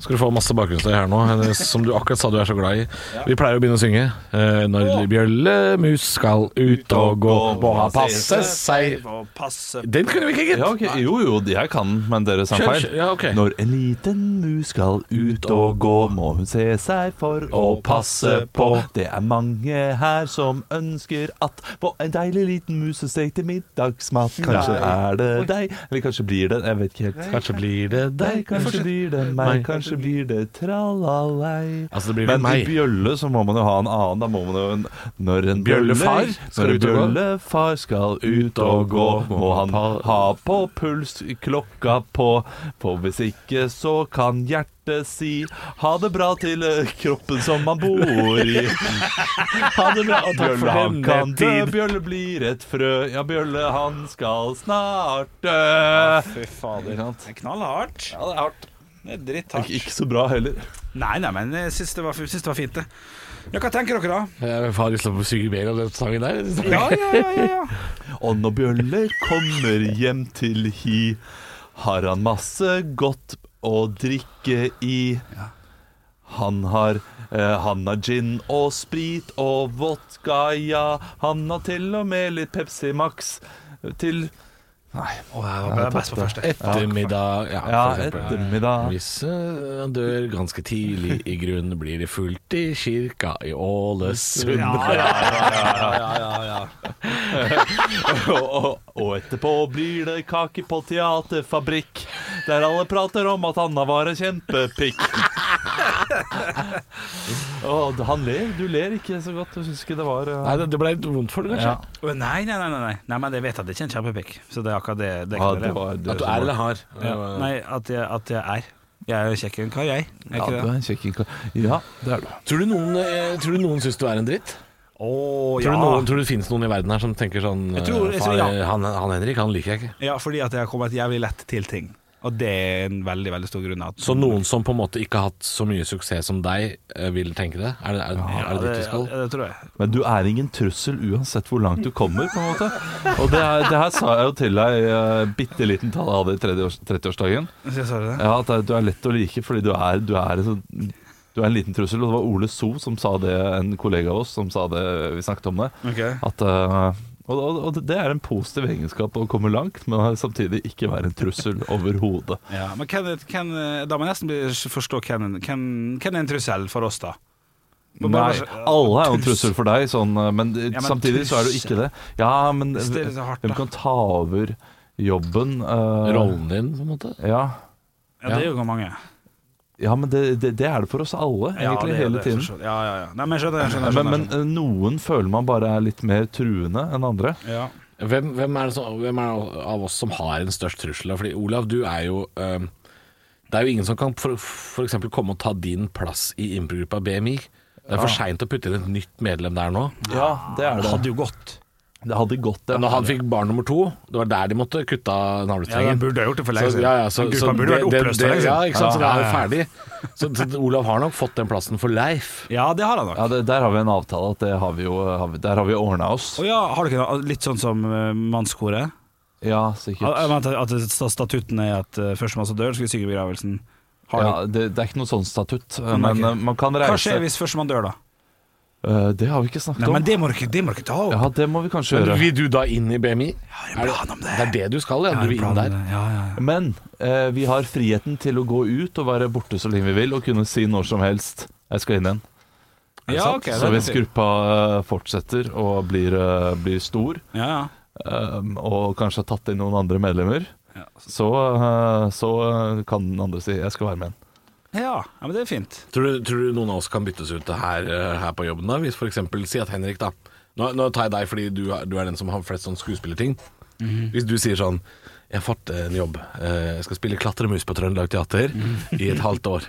Skal du få masse bakgrunnsstøy her nå, Hennes, som du akkurat sa du er så glad i. Vi pleier å begynne å synge. eh, Når bjøllemus skal ut og gå, må han passe seg Å, passe Den kunne vi ikke, gitt. Ja, ok. Jo, jo, jeg kan den, men dere sa Kjør, feil. kjør. Ja, ok. Når en liten mus skal ut og gå, må hun se seg for å passe på. Det er mange her som ønsker at på en deilig liten musestek til middagsmat. Kanskje er det deg, eller kanskje blir det Jeg vet ikke helt. Kanskje blir det Deg, deg, kanskje blir det meg, kanskje blir det tralalei. Altså, det blir vel Men i meg. bjølle så må man jo ha en annen. Da må man jo en, Når en Bjøllefar skal Når ut en og gå. bjøllefar skal ut og gå, må han ha på pulsklokka på. For hvis ikke så kan hjertet si ha det bra til eh, kroppen som man bor i. Ha det bra, og takk for Bjølle, han denne kan dø. tid. Bjølle blir et frø. Ja, bjølle, han skal snart dø. Fy fader. Ikke sant? Det er knallhardt. Ja, det er hardt. Det er dritthardt. Ikke så bra heller. Nei, nei, men jeg syns det, var- jeg syns det var fint, det. Ja, hva tenker dere, da? Jeg har lyst til å synge mer av den sangen der. Ja, ja, ja, ja, ja. Og når Bjølle kommer hjem til hi, har han masse godt å drikke i. Han har, eh, han har gin og sprit og vodka, ja. Han har til og med litt Pepsi Max til Det er best på første. Ettermiddag, ja, ja, for eksempel. ettermiddag. Hvis eh, han dør ganske tidlig i grunn, blir det fullt i kirka i Ålesund. Ja, ja, ja, ja, ja, ja, ja. og, og, og etterpå blir det kake på teaterfabrikk, der alle prater om at Anna var en kjempepikk. Å, han ler. Du ler ikke så godt. Du syns ikke det var eh, Nei, det- det ble litt vondt for deg, ja. kanskje. Å, Nei, nei, nei, nei, nei. nei men jeg vet at det er ikke en kjempepikk. Så det er akkurat det. det, er Ja, ikke det det. var det At du som er eller var- har. Nei, at jeg, at jeg er. Jeg er jo kjekkere enn hva jeg er. Ja, ikke du det? er en kjekk kar. Ja, det er du. Tror du noen, eh, tror du noen syns du er en dritt? Å, Tror, ja. du noen, tror du det finnes noen i verden her som tenker sånn Jeg tror- jeg eh, tror ja. "Faen, han, han Henrik, han liker jeg ikke. ja, fordi at jeg har kommet jævlig lett til ting. Og det er en veldig, veldig stor grunn. At Så noen som på en måte ikke har hatt så mye suksess som deg, eh, vil tenke det? Er det, er, er det det, dit vi skal? ja, det tror jeg. Men du er ingen trussel uansett hvor langt du kommer, på en måte. Og det, er, det her sa jeg jo til deg uh, bitte liten tale jeg hadde i 30-års- 30-årsdagen. Så jeg sa det. Ja, at det- du er lett å like fordi du er, du er, en sånn- du er en liten trussel. Og det var Ole So som sa det, en kollega av oss, som sa det, vi snakket om det. Ok. At, eh, og, og, og det er en positiv egenskap å komme langt, men samtidig ikke være en trussel overhodet. Ja, men hvem, hvem, da må jeg nesten bli- forstå hvem, hvem, hvem er en trussel for oss, da? Men bare- Nei, alle er jo en Trus- trussel for deg, sånn, men, eh, Ja, men samtidig så er du ikke det. Ja, men Hvis det er så hardt, hvem da. kan ta over jobben? eh, Rollen din, på en måte? Ja, Ja, det er jo mange. ja men det, det, det er det for oss alle, Ja, egentlig, det er hele det, tiden. for så- Ja, ja, ja. Nei, men jeg skjønner, jeg skjønner. jeg Men, skjønner, men eh, noen føler man bare er litt mer truende enn andre. jeg skjønner. ja. Hvem, hvem, er det som, hvem er det av oss som har den største trusselen? Fordi Olav, du er jo eh, Det er jo ingen som kan for- for eksempel komme og ta din plass i improgruppa BMI. Det er for seint å putte inn et nytt medlem der nå. Ja, det er Det det. hadde jo gått. Det hadde gått, det. Når han fikk barn nummer to, det var der de måtte kutte av Ja, den navlestrengen. burde ha gjort det for lenge Så, siden. ja, ja, så, Den gruppa så burde vært det- oppløst det- for lenge Ja, siden. ikke sant, så det Ja, er jo ja, ja. ferdig. Så, så Olav har nok fått den plassen for Leif. Ja, det har han nok. Ja, det, der har vi en avtale, at det har vi jo, eh, har vi, der har vi ordna oss. Å ja, har du ikke det? Litt sånn som eh, mannskoret? Ja, At, sikkert. at- at sta- statutten er at eh, førstemann som dør, skal synge begravelsen. Har Ja, du- det, det er ikke noe sånn statutt, eh, men ok. eh, man kan Hva reise skjer hvis førstemann dør, da? Eh, Det har vi ikke snakket Nei, men om. det må du ikke, det må du ikke ta opp. Ja, det må vi kanskje Men gjøre. vil du da inn i BMI? har en Er plan om det. det er det du skal, ja. Du vil inn der. Ja, ja, ja. Men eh, vi har friheten til å gå ut og være borte så lenge vi vil, og kunne si når som helst 'jeg skal inn igjen'. Er det Ja, sant? ok, det så er hvis fint. gruppa eh, fortsetter og blir, eh, blir stor, ja, ja. eh, og kanskje har tatt inn noen andre medlemmer, Ja. så, eh, så eh, kan den andre si 'jeg skal være med igjen'. Ja, ja, men det er fint. Tror du, tror du noen av oss kan byttes ut her, eh, her på jobben da? Hvis for eksempel, si at Henrik da Nå, nå tar jeg deg fordi du, er- du er den som har flest sånn skuespillerting Mhm. Hvis du sier sånn Jeg har fått en jobb Eh, Jeg skal spille klatremus på Trøndelag Teater I et halvt år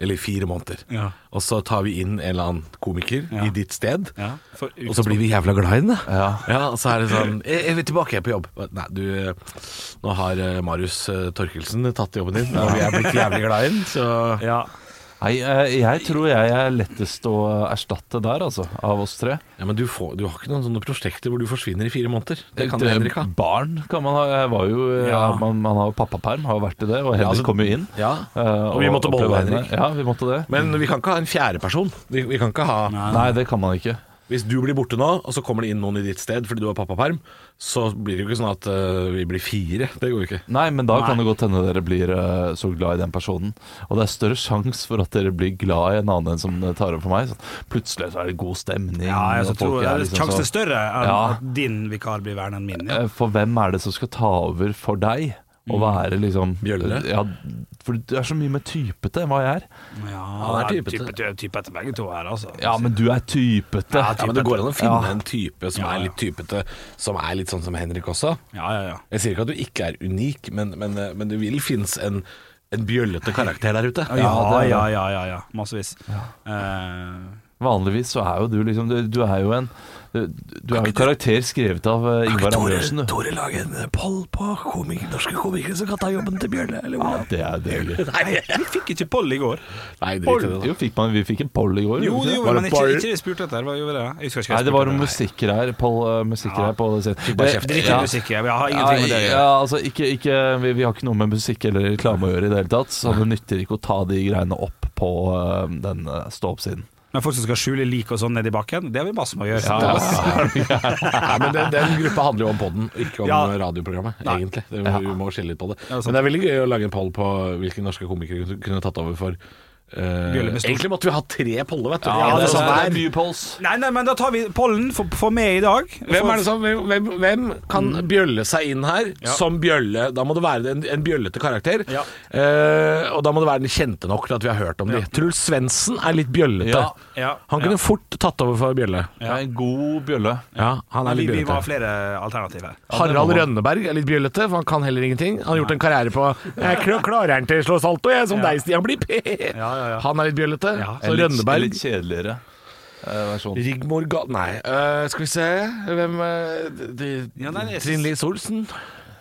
Eller i fire måneder Mhm. Ja. Og så tar vi inn en eller annen komiker Ja. I ditt sted Ja, for Og så blir vi jævla glad i den da Ja. og så er det sånn Jeg, jeg vil tilbake på jobb Nei, du eh, Nå har eh, Marius eh, Torkelsen tatt jobben din Og vi er blitt jævlig glad i den Så Ja. Nei, eh, jeg tror jeg er lettest å erstatte der, altså, av oss tre. Ja, men du, får, du har ikke noen sånne prosjekter hvor du forsvinner i fire måneder. Det kan Henrik ha. Barn kan man ha. Jeg var jo, eh, Ja. man, man har jo pappaperm, har jo vært i det, og Henrik altså- kom jo inn. Ja. eh, Og vi måtte beholde opplevde Henrik. det. Ja, vi måtte det. Men vi kan ikke ha en fjerde person. Vi, vi kan ikke ha Nei, det kan man ikke. Hvis du blir borte nå, og så kommer det inn noen i ditt sted fordi du har pappaperm, så blir det jo ikke sånn at eh, vi blir fire. Det går jo ikke. Nei, men da kan det godt hende dere blir eh, så glad i den personen. Og det er større sjanse for at dere blir glad i en annen enn som tar opp for meg. Sånn, plutselig så er det god stemning. Ja, jeg og så tror folk er jeg, liksom Sjansen så- er større enn Ja. at din vikar blir verre enn min. Ja. Eh, For hvem er det som skal ta over for deg? Mm. Å være liksom Bjølle? Ja, for du er så mye mer typete enn hva jeg er. Ja, han er typete. Type, type etter begge to her, altså. Ja, men du er typete. Ja, Ja, men Det går an å finne Ja. en type som Ja, ja. er litt typete, som er litt sånn som Henrik også. ja, ja, ja. Jeg sier ikke at du ikke er unik, men, men, eh, men det vil finnes en, en bjøllete karakter der ute. Ja, det er det. ja, ja, ja, ja. Massevis. Eh, Vanligvis så er jo du liksom Du, du er jo en du, du er jo en karakter skrevet av eh, Ingvar Andresen, du. lage en poll på norske komikere som kan ta jobben til Bjølle, eller hva? Det er deilig. Nei, vi fikk ikke poll i går. Nei drit i det. Jo, fikk man, vi fikk en poll i går. Jo, gjorde vi det ikke gjorde vi, men det ikke, poll? ikke det vi spurte etter. Hva gjorde vi det? Jeg husker ikke hva Nei, jeg det var spurte noe etter. musikkgreier på, eh, musikkgreier på det Fikk bare kjeft. Det- Drit i Ja. musikk. Jeg har Ja, ingenting med det å gjøre. ja, altså ikke, ikke, vi, vi har ikke noe med musikk eller reklame å gjøre i det hele tatt, så det nytter ikke å ta de greiene opp på eh, den eh, stå-opp-siden. Men folk som skal skjule lik og sånn nedi bakken, det har vi masse med å gjøre. Ja. Nei, men den, den gruppa handler jo om podden, ikke om Ja. radioprogrammet, Nei. egentlig. Det, Ja. Vi må skille litt på det. Ja, sant. men det er veldig gøy å lage en poll på hvilke norske komikere kunne- kunne tatt over for eh, Bjølle med stor- Egentlig måtte vi hatt tre poller, vet du. Ja, det er En sant. sånn det hver. er mye polls. Nei, nei, men da tar vi pollen for, for meg i dag. Hvem, er det som, hvem- hvem, hvem kan Mm. bjølle seg inn her som bjølle? Da må det være en, en bjøllete karakter. Ja. Eh, og da må det være den kjente nok til at vi har hørt om de. Ja. Truls Svendsen er litt bjøllete. Ja. Ja. Han kunne Ja. fort tatt over for Bjølle. Ja, en god bjølle. Ja, han er vi, litt vi må ha bjøllete. flere alternativ her. Harald Rønneberg er litt bjøllete, for han kan heller ingenting. Han har gjort en karriere på Jeg kl- klarer han til å slå salto, jeg, som deg, Stian Blipp. ja, ja. Han er litt bjøllete. Ja. Så En Rønneberg litt kjedeligere eh, versjon. Rigmor Ga... Nei, øh, skal vi se Hvem øh, de- Ja, nei, jeg Trine synes- Lise Olsen.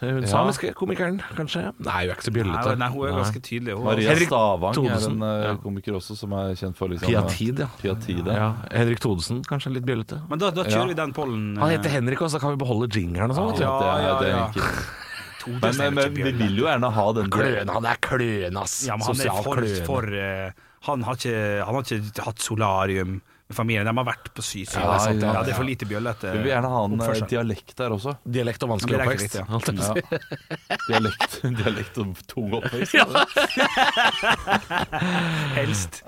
eh, Hun samiske komikeren, kanskje? Nei, hun er ikke så Nei, bjøllete. nei, hun er ganske tydelig. Hun, Maria Henrik Stavang Thodesen. er en eh, Ja. komiker også som er kjent for liksom, Piatid, ja. Piatide. ja. Henrik Thodesen, kanskje litt bjøllete. Men da, da kjører Ja. vi den pollen. Han heter Henrik også, da kan vi beholde jingeren og sånn. vet du. Ja, det er, Eh. Ja, det er ja, ja. enkelt. Todesen Men, men, er men ikke vi bjølle. vil jo gjerne ha den Kløne, han er kløne, ass. Ja, men han er Sosial for, kløne. for eh, han, har ikke, han har ikke hatt solarium med familien. De har vært på sysyv. Ja, Ja, det, ja, ja, ja. det er for lite bjøllete. Vi vil gjerne ha en eh, oppførsel. dialekt der også. Dialekt og Ja, vanskelig men det er oppvekst. ikke riktig, ja. holdt jeg på å si. Dialekt, dialekt og tung oppvekst. Helst.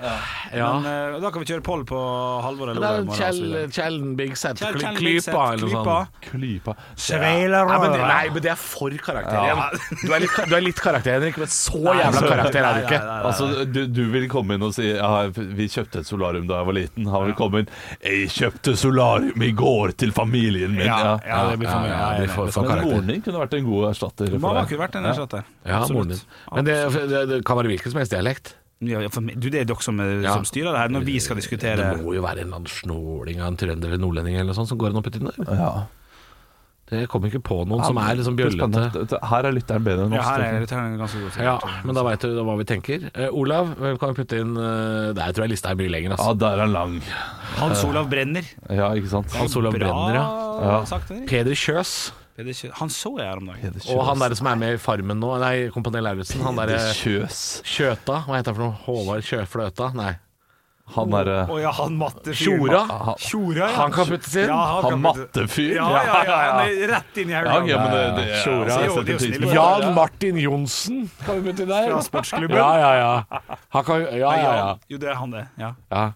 Ja. Men eh, da kan vi kjøre poll på Halvor eller Det er Olav. i jo morgen, Kjell, altså. Kjell Big Set, Kjell- Kjell Klypa Vingseth, eller noe Klypa. sånt. Klypa. Nei men, Sveilerøra. det, nei, men det er for karakter igjen. Du er litt, du er litt karakter, Henrik, men så jævla så- karakter er du ikke. Nei, nei, nei. Altså, du, du vil komme inn og si ja, 'Vi kjøpte et solarium da jeg var liten'. Han vil komme inn 'Jeg kjøpte solarium i går til familien min'. Ja, Ja, ja, Sånn det blir for mye. ja, det blir for- for- Men moren din kunne vært en god erstatter for Mamma deg. kunne vært en Ja. erstatter. Ja, moren din. Men det, det, det kan være hvilken som helst dialekt. Ja, ja, for meg- du, det er dere som, eh, Ja. som styrer det her når vi skal diskutere Det må jo være en eller annen snåling av en trønder eller nordlending eller noe sånt som går an opp i tiden der. Ja. Det kommer ikke på noen som er liksom Det blir bjøllete. spennende. Dette- Her er lytteren bedre enn Ja, oss. her er tenker jeg. irriterende ganske god. Ja, men da veit du hva vi tenker. Eh, Olav, hvem kan vi putte inn eh, Der tror jeg lista er mye lenger, Ja, altså. der er han lang. Hans Olav Brenner. Ja, ikke sant? Hans Olav Brenner, ja. Bra sagt, Erik. Peder Kjøs. Er det ikke- Han så jeg her om dagen. Peder Kjøs. Og han der som er med i Farmen nå, nei, Kompani Lauritzen. Han eh, derre Peder Kjøs. Kjøta, hva heter han for noe? Håvard Kjøfløta? Nei. Han eh, derre Å ja, han matte Tjora. Tjora, ja. Han kan puttes inn. Ja, Han kan putte- mattefyr. Ja, ja, ja. Han er rett inn i Ja, ok, hodet. men det, det, Tjora. altså, jeg setter Det er jo- det er jo pris snill. på det. Jan Martin Johnsen kan vi putte inn der. Fra sportsklubben. Ja, ja, ja. Han kan, ja, Ja, ja, ja. ja. Jo, det er han, det. Ja. ja.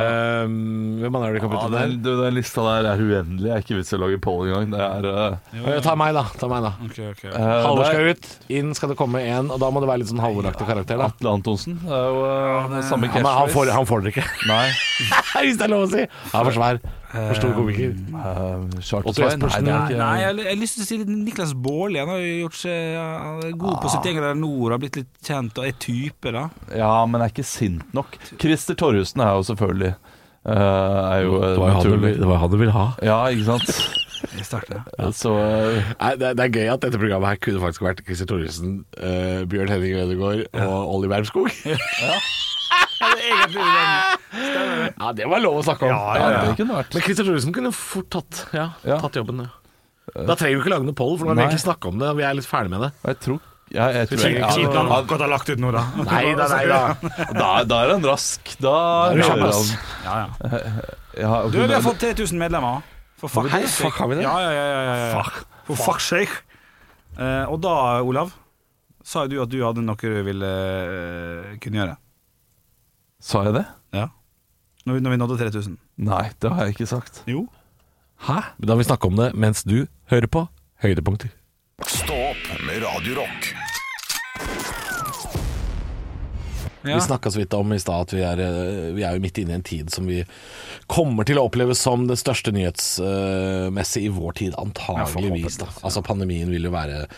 Ehm, hvem andre er det du kan Ja, putte inn den, du, den lista der er uendelig. Det er ikke vits i å lage poll engang. Det er eh, der? Eh, Ta meg, da. ta meg da Okay, okay. eh, Halvor det er- skal ut, inn skal det komme en, og da må det være litt sånn halvoraktig karakter. da Atle Antonsen det er jo eh, samme ja, men han, får, catchphrase. han får det ikke, Nei. hvis det er lov å si! Han er for svær. For stor komiker. Uh, Otto Jespersen, Nei, ja. det er Nei, ikke jeg, jeg har lyst til å si Niklas Baarli. Han har jo gjort seg eh, han er god på sitt eget der nord, har blitt litt kjent og er type, da. Ja, men er ikke sint nok. Christer Torjussen er jo selvfølgelig eh, Er jo eh, naturlig. han du ville ha. Ja, ikke sant? Jeg starter. Så eh, Nei, det, det er gøy at dette programmet her kunne faktisk vært Christer Thoresen, eh, Bjørn Henning Ødegaard og Olli Wermskog. Ja, det var lov å snakke om. ja, ja. Det kunne vært. Men Christer Thoresen kunne fort tatt, ja, Ja. tatt jobben. Ja. Da trenger vi ikke lage noe poll, for nå har vi Nei. egentlig snakka om det. og Vi er litt ferdig med det. Og Jeg tror ja, jeg tror Kjipt jeg, han ja, da, akkurat har lagt ut nå, da. Nei da, nei da. da, da er han rask. Da er du hører kjapp, han. ass. Ja, ja. Ja, Du, vi har hun- fått 3000 medlemmer. For fuck Hei, sake. fuck, har vi det? Ja, ja, ja, ja, ja, ja. For fuck sake. Eh, og da, Olav, sa jo du at du hadde noe du ville eh, kunne gjøre. Sa jeg det? Ja. Når vi, når vi nådde 3000. Nei, det har jeg ikke sagt. Jo. Hæ? Da vil vi snakke om det mens du hører på Høydepunkter. Stå opp med Radio Rock. Ja. Vi snakka så vidt om i stad at vi er, eh, vi er jo midt inne i en tid som vi kommer til å oppleve som den største nyhetsmessig i vår tid, antageligvis. Da. Altså Pandemien vil jo være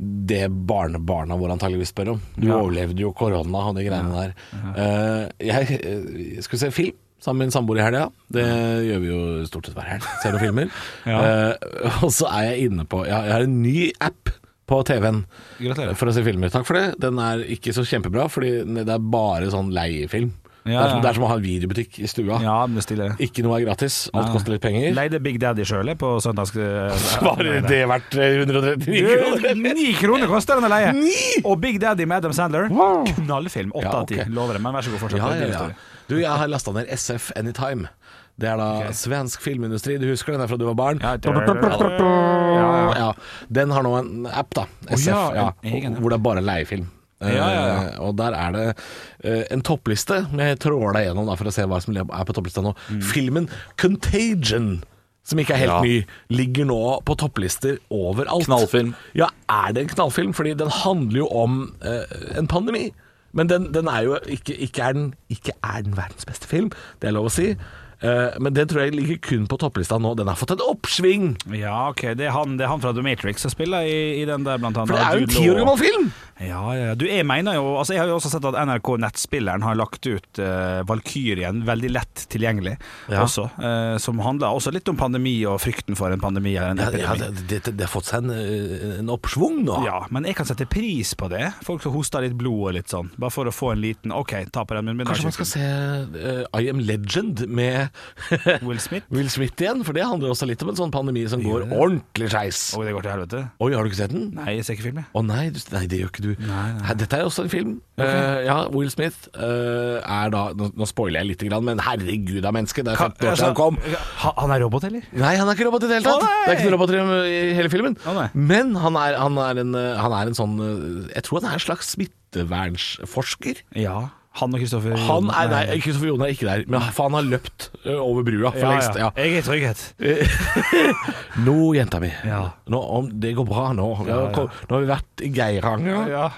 det barnebarna våre antageligvis spør om. Du overlevde jo korona og de greiene der. Eh, Jeg eh, skulle se film sammen med min samboer i helga. Det gjør vi jo stort sett hver helg. Ser noen filmer. Eh, Og så er jeg inne på Jeg har- jeg har en ny app på TV-en. Gratulerer. For å se filmer. Takk for det. Den er ikke så kjempebra, fordi det er bare sånn leiefilm. Det, Ja, er som, ja. det er som å ha en videobutikk i stua. Ja, men det stiller jeg. Ikke noe er gratis, alt koster litt penger. Leide Big Daddy sjøl på søndags... Bare det verdt eh, 139 kroner? Ni kroner koster den å leie. Og Big Daddy med Adam Sandler. Knallfilm. Åtte Ja, av ti, ok. lover det. Men vær så god, fortsett. Ja, Det er ja, din ja. historie. Du, jeg har lasta ned SF Anytime. Det er da svensk filmindustri. Du husker den der fra du var barn? Ja, der- Ja, Den har nå en app, da. SF. ja, ja, en egen app. hvor det er bare leiefilm. Eh, Ja, ja, ja. og der er det eh, en toppliste. Jeg tråler deg gjennom da, for å se hva som er på topplista nå. Mm. Filmen 'Contagion', som ikke er helt Ja. ny, ligger nå på topplister overalt. Knallfilm. Ja, er det en knallfilm? Fordi den handler jo om eh, en pandemi. Men den, den er jo ikke, ikke, er den, ikke er den verdens beste film, det er lov å si. Eh, men den tror jeg ligger kun på topplista nå. Den har fått et oppsving! Ja, ok. Det er han, det er han fra The Matrix som spiller i, i den der, blant annet. For det er jo en Jude ti år Law. gammel film! Ja, ja. ja. Du, jeg mener jo Altså, jeg har jo også sett at NRK Nettspilleren har lagt ut uh, Valkyrien veldig lett tilgjengelig Ja. også, eh, som handler også litt om pandemi og frykten for en pandemi eller en Ja, ja epidemi. det, det, det har fått seg en, eh, en oppsvung nå. Ja, men jeg kan sette pris på det. Folk som hoster litt blod og litt sånn, bare for å få en liten OK, ta på den munnbinden. Kanskje man skal se eh, I Am Legend med Will Smith? Will Smith igjen? For det handler også litt om en sånn pandemi som går ordentlig skeis. Oi, det går til helvete. Oi, har du ikke sett den? Nei, jeg ser ikke film, jeg. Å nei, du, nei, det gjør ikke du. Nei, nei. Hæ, Dette er jo også en film. Eh, ja, Will Smith eh, er da Nå, nå spoiler jeg litt, grann, men herregud av menneske, det er 15 år siden han kom. altså, Ha- Han er robot, eller? Nei, han er ikke robot i det hele tatt. Å, nei! det er ikke noen roboter i i hele filmen. Å, nei. men han er, han, er en, eh, han er en sånn eh, Jeg tror han er en slags smittevernsforsker. Ja. Han og Kristoffer Han er der, Kristoffer Jon er ikke der, men for han har løpt ø, over brua for ja, lengst. ja. Ja. Jeg er trygghet. Nå, jenta mi, Ja. nå, om det går bra nå. Vi har kom- Nå har vi vært i Geiranger, Ja.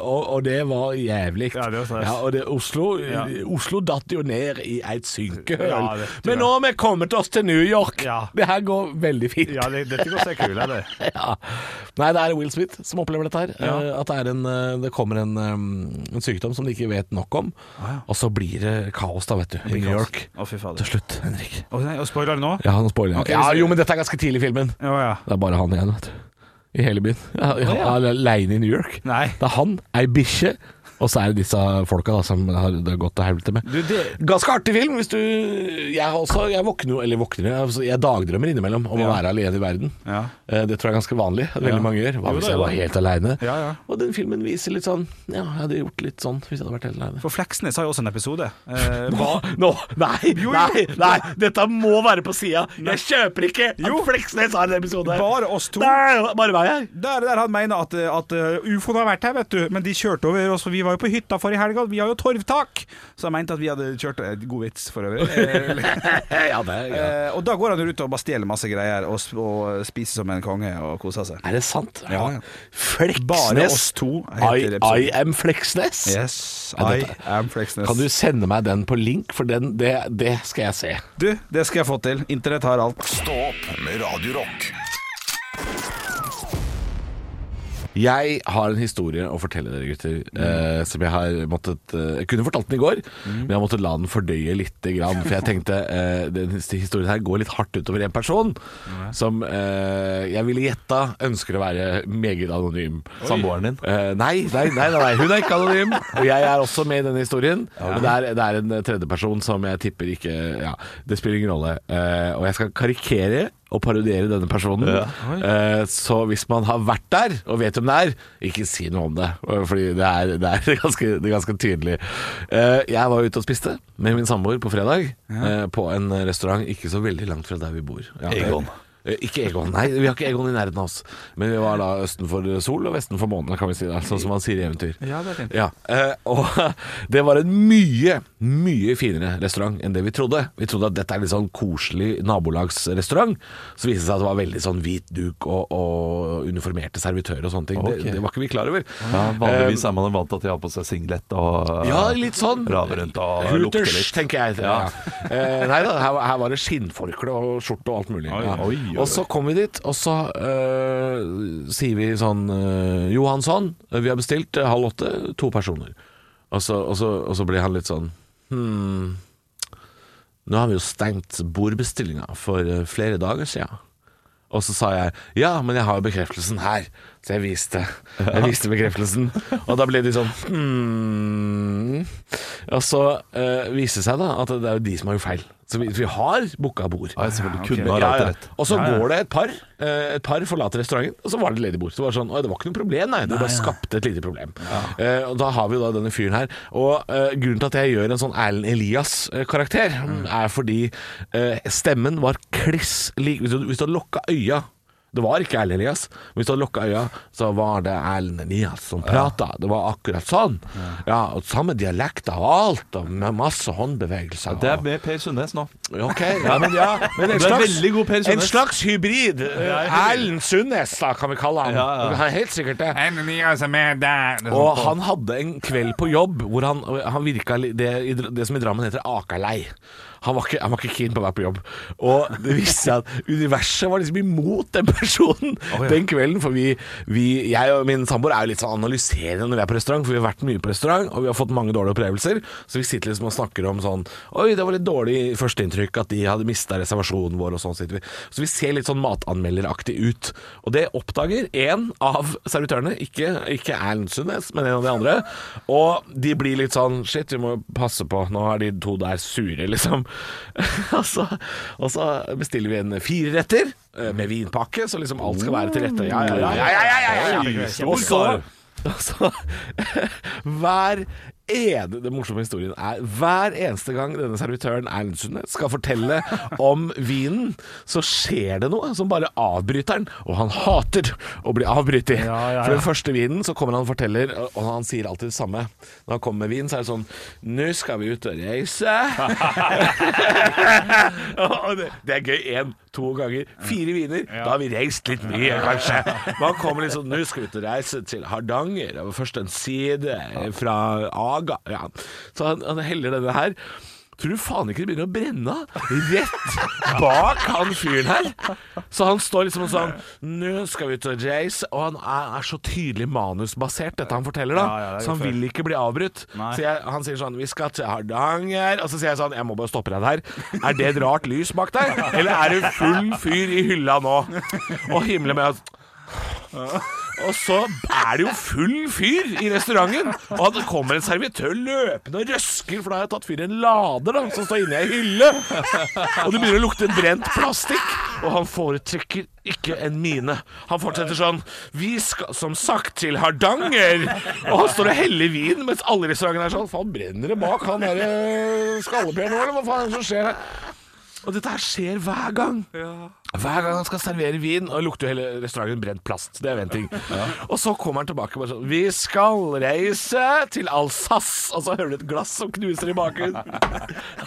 og, og det var jævlig. Ja, det var stress. og det, Oslo, Ja. Oslo datt jo ned i et synkehøl. Ja, det tror jeg. men nå har vi kommet oss til New York. Ja. Det her går veldig fint. Ja, det, dette går seg kul, eller? Ja. Nei, det er Will Smith som opplever dette her. Eh, At det, er en, eh, det kommer en, eh, en sykdom som de ikke vet nok om. Og så blir det kaos, da, vet du, i New York. Å, fy fader. Til slutt, Henrik. Å, nei, og spoiler nå? Ja, nå spoiler jeg. Ok, ja, så- jo, men dette er ganske tidlig i filmen. Å ja. Det er bare han igjen, vet du. I hele byen. Ja, ja, ja. han er Alene i New York. Nei. Det er han, ei bikkje, og så er det disse folka da, som har, det har gått til helvete med. Du, det Ganske artig film. Hvis du Jeg, har også, jeg våkner jo Eller våkner jo altså, Jeg dagdrømmer innimellom om å Ja. være alene i verden. Ja. Eh, Det tror jeg er ganske vanlig at veldig Ja. mange gjør. Hva Jo hvis da, jeg jo var da. helt aleine? Ja, ja. Og den filmen viser litt sånn Ja, jeg hadde gjort litt sånn hvis jeg hadde vært helt aleine. For Fleksnes har jo også en episode. Eh, hva? Nå, nei, jo. nei, nei, dette må være på sida. Jeg kjøper ikke at Fleksnes har en episode. Bare oss to. Nei, bare meg her. Der, der han mener at, at eh, ufoen har vært her, vet du. Men de kjørte over oss, for vi var jo på hytta forrige helg, og vi har jo torvtak! Så han mente at vi hadde kjørt eh, God vits, for øvrig. Eh, ja, det, er- ja. eh, og da går han rundt og bare stjeler masse greier, og, s- og spiser som en konge og koser seg. Er det sant? Ja, ja. Fleksnes. Bare oss to I, heter episoden. I am Fleksnes. Yes, Ja, I dette- am Fleksnes. Kan du sende meg den på link, for den, det, det skal jeg se. du, det skal jeg få til. Internett har alt. Stå opp med Radio Rock. Jeg har en historie å fortelle dere, gutter. eh, som jeg har måttet eh, Jeg kunne fortalt den i går, men jeg måtte la den fordøye lite grann. For jeg tenkte eh, den his- historien her går litt hardt utover en person som eh, jeg ville gjetta ønsker å være meget anonym. Samboeren din. Eh, nei, nei, nei, nei, nei, hun er ikke anonym. Og jeg er også med i denne historien. Men det er, det er en eh, tredjeperson som jeg tipper ikke Ja, det spiller ingen rolle. Eh, og jeg skal karikere og parodiere denne personen. Eh, så hvis man har vært der og vet hvem det er, ikke si noe om det. eh, Fordi det er, det er, ganske, det er ganske tydelig. Eh, jeg var ute og spiste med min samboer på fredag. eh, på en restaurant ikke så veldig langt fra der vi bor. Ja, det- Egon. Eh, Ikke Egon, nei, vi har ikke Egon i nærheten av oss. Men vi var da østen for sol og vesten for måne, kan vi si. det Sånn som man sier i eventyr. Ja, det er fint. Ja, eh, og det var en mye, mye finere restaurant enn det vi trodde. Vi trodde at dette er litt sånn koselig nabolagsrestaurant. Så viste det seg at det var veldig sånn hvit duk og, og uniformerte servitører og sånne ting. Ok. Det, det var ikke vi klar over. Ja, vanligvis er man jo vant til at de har på seg singlet og eh, Ja, litt sånn. raver rundt og lukter Hooters, litt. tenker jeg. Ja. Eh, nei da, her, her var det skinnforkle og skjorte og alt mulig. Ja. oi, oi. Og så kom vi dit, og så eh, sier vi sånn eh, Johansson, vi har bestilt eh, halv åtte, to personer. Og så, og, så, og så blir han litt sånn Hm Nå har vi jo stengt bordbestillinga for eh, flere dager siden. Og så sa jeg ja, men jeg har jo bekreftelsen her. Så jeg viste, jeg viste bekreftelsen. Og da ble de sånn hmm. Og så eh, viste det seg da at det er jo de som har gjort feil. Så vi, vi har booka bord. Ja, jeg selvfølgelig Ja, ok. kunne ha Ja, rett ja. og rett. Og så går det et par. eh, Et par forlater restauranten, og så var det ledig bord. Så det var sånn, Oi, det var ikke noe problem, nei. Det bare skapte et lite problem. Eh, og da har vi jo da denne fyren her. Og eh, grunnen til at jeg gjør en sånn Erlend Elias-karakter, er fordi eh, stemmen var kliss lik Hvis du- hvis du hadde lokka øya det var ikke Erlend Elias. Men hvis du hadde lukka øya, så var det Erlend Elias som prata. Det var akkurat sånn. Ja, og Samme dialekt og alt, og med masse håndbevegelser. Det og- er med Per Sundnes nå. Ok, ja, men ja men en, Du er slags, veldig god, Per Sundnes. en slags hybrid. eh, Erlend Sundnes, da, kan vi kalle han. Ja, ja. Han er helt sikkert det. Og Og han hadde en kveld på jobb hvor han, han virka li- det, i Dr- det som i Drammen heter akerlei. Han var, ikke, han var ikke keen på å være på jobb. Og det viste seg at universet var liksom imot den personen den kvelden. For vi, vi, jeg og min samboer er jo litt sånn analyserende når vi er på restaurant, for vi har vært mye på restaurant, og vi har fått mange dårlige opplevelser. Så vi sitter liksom og snakker om sånn Oi, det var litt dårlig førsteinntrykk at de hadde mista reservasjonen vår, og sånn sitter vi. Så vi ser litt sånn matanmelderaktig ut. Og det oppdager én av servitørene, ikke, ikke Erlend Sundnes, men en av de andre. Og de blir litt sånn Shit, vi må passe på, nå er de to der sure, liksom. og, så, og så bestiller vi en fireretter eh, med vinpakke, så liksom alt skal være til rette. Ja, ja, ja. ja, ja, ja, ja, ja. Og så, og så Altså, Hver ene Den morsomme historien er Hver eneste gang denne servitøren Erlend Sundnes skal fortelle om vinen, så skjer det noe som bare avbryter han, og han hater å bli avbrytet. For den første vinen så kommer han og forteller, og han sier alltid det samme. Når han kommer med vin, så er det sånn Nå skal vi ut og reise. Og det, det er gøy én, to ganger. Fire viner. Da har vi reist litt mye, kanskje. Man kommer liksom Nå skal vi ut og reise til Hardanger. Det var først en side fra Aga ja. Så han, han heller denne her. Tror du faen ikke det begynner å brenne av? Rett bak han fyren her. Så han står liksom og sånn Nå skal vi ut og reise. Og han er, er så tydelig manusbasert, dette han forteller, da. Ja, ja, det er så han godt vil ikke bli avbrutt. Nei. Så jeg, han sier sånn Vi skal til Hardanger. Og så sier jeg sånn Jeg må bare stoppe deg der. Er det et rart lys bak der? Eller er det full fyr i hylla nå? Og himler med at og så er det jo full fyr i restauranten. Og det kommer en servitør løpende og røsker, for da har jeg tatt fyr i en lader da, som står inne i ei hylle. Og det begynner å lukte brent plastikk. Og han foretrekker ikke en mine. Han fortsetter sånn Vi skal som sagt til Hardanger. Og han står og heller vin, mens alle i restauranten er sånn Faen, brenner det bak han derre skallepjeren nå, eller hva faen er det som skjer her? Og dette her skjer hver gang. Hver gang han skal servere vin, og det lukter jo hele restauranten brent plast. Det er jo en ting. Og så kommer han tilbake bare sånn Vi skal reise til Alsace! Og så hører du et glass som knuser i bakgrunnen.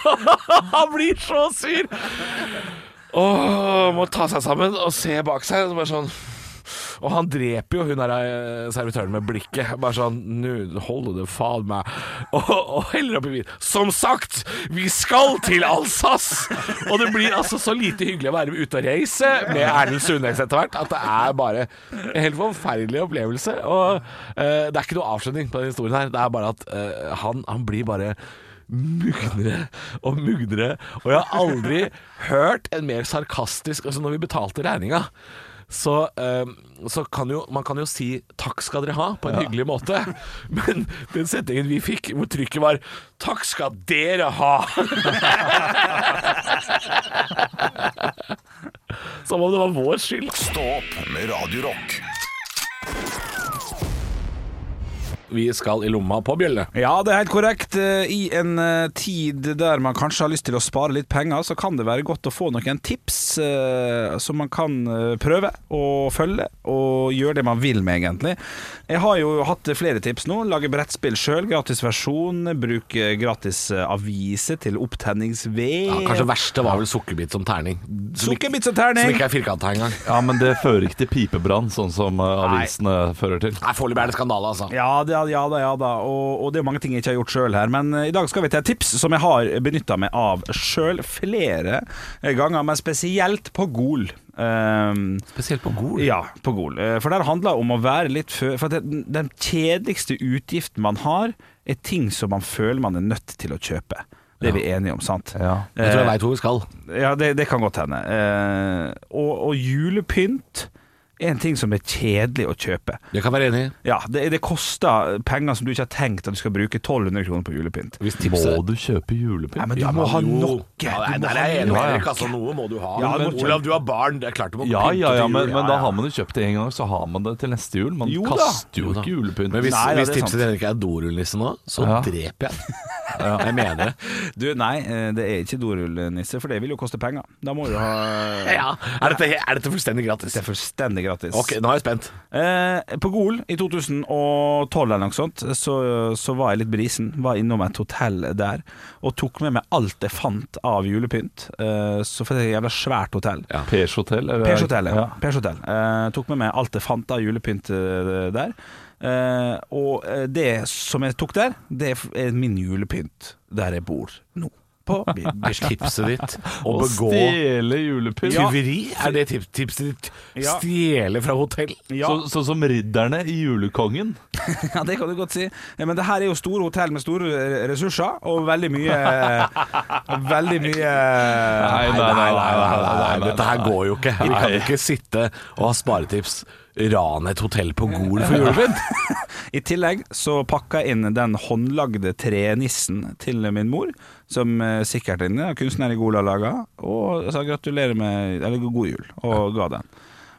han blir så sur! Åh, må ta seg sammen og se bak seg. Og så bare sånn Og han dreper jo hun der eh, servitøren med blikket. Bare sånn Nu holder det faen meg. Og, og heller oppi vin. Som sagt, vi skal til Alsace! Og det blir altså så lite hyggelig å være ute og reise med Erlend Sundnes etter hvert, at det er bare en helt forferdelig opplevelse. Og eh, det er ikke noe avslutning på den historien her. Det er bare at eh, han, han blir bare mugnere og mugnere. Og jeg har aldri hørt en mer sarkastisk Altså, når vi betalte regninga så, eh, så kan jo man kan jo si 'takk skal dere ha' på en hyggelig måte, men den setningen vi fikk, hvor trykket var 'takk skal dere ha' Som om det var vår skyld. Stå opp med Radio Rock. Vi skal i lomma på bjelle. Ja, det er helt korrekt. Eh, I en eh, tid der man kanskje har lyst til å spare litt penger, så kan det være godt å få noen tips eh, som man kan eh, prøve og følge, og gjøre det man vil med, egentlig. Jeg har jo hatt flere tips nå. Lage brettspill sjøl, gratis versjon. Bruke gratis eh, aviser til opptenningsved. Ja, kanskje verste var vel sukkerbit som terning. Som ikke- Sukkerbits og terning. Som ikke er firkanta engang. Ja, men det fører ikke til pipebrann, sånn som eh, avisene fører til. Nei, Foreløpig er det skandale, altså. Ja da, ja da, ja da. Og, og det er mange ting jeg ikke har gjort sjøl her. Men eh, i dag skal vi til et tips som jeg har benytta meg av sjøl flere ganger, men spesielt på Gol. Ehm, Spesielt på Gol. ja, på Gol. Eh, For der handler det om å være litt før For at den, den kjedeligste utgiften man har, er ting som man føler man er nødt til å kjøpe. Det er vi enige om, sant? Ja. Jeg tror jeg Eh, veit hvor vi skal. ja, det, det kan godt hende. Eh, og, og julepynt er en ting som er kjedelig å kjøpe. Jeg kan være enig. i. Ja, det, det koster penger som du ikke har tenkt at du skal bruke 1200 kroner på julepynt. Hvis Må tipset du kjøpe julepynt? Nei, men du Ja, må ha jo. noe. Ja, nei, Du må der ha er jeg enig med noe. Erik. Altså, noe må du ha. Ja, men, men- Olav, du har barn. Det er klart du må Ja, pynte ja, ja, til men, jul. men da har man jo kjøpt det en gang, så har man det til neste jul. Man Jo da. kaster jo Jo da. ikke julepynt. Men hvis, Nei, ja, hvis det er tipset sant. til Henrik er dorullnisse nå, så Ja. dreper jeg. Jeg mener det. Du, nei, eh, det er ikke dorullnisse, for det vil jo koste penger. Da må du ha Ja. Er, dette, er dette fullstendig gratis? Det er fullstendig gratis. Ok, nå er jeg spent. Eh, på Gol i 2012 eller noe sånt, så, så var jeg litt brisen. Var innom et hotell der og tok med meg alt jeg fant av julepynt. Eh, så for det er et jævla svært hotell. Pers Hotel, eller? Pers Hotel, ja. Pers Hotel. Eh, tok med meg alt jeg fant av julepynt eh, der. Eh, og eh, det som jeg tok der, det er min julepynt der jeg bor nå. På Er Bislett. tipset ditt å Å begå stjele julepynt. Ja. tyveri? Er det tip, tipset ditt? Ja. Stjele fra hotell? Ja, Så, sånn som ridderne i Julekongen. ja, det kan du godt si. Eh, Men det her er jo store hotell med store eh, ressurser, og veldig mye Veldig mye Nei, nei, nei, nei, nei, nei, nei. Dette her går jo ikke. Vi kan Nei. jo ikke sitte og ha sparetips. Rane et hotell på Gol for julepynt? I tillegg så pakka jeg inn den håndlagde trenissen til min mor, som eh, sikkert en kunstner i Gola laga, og sa gratulerer med Eller god jul, og ga den.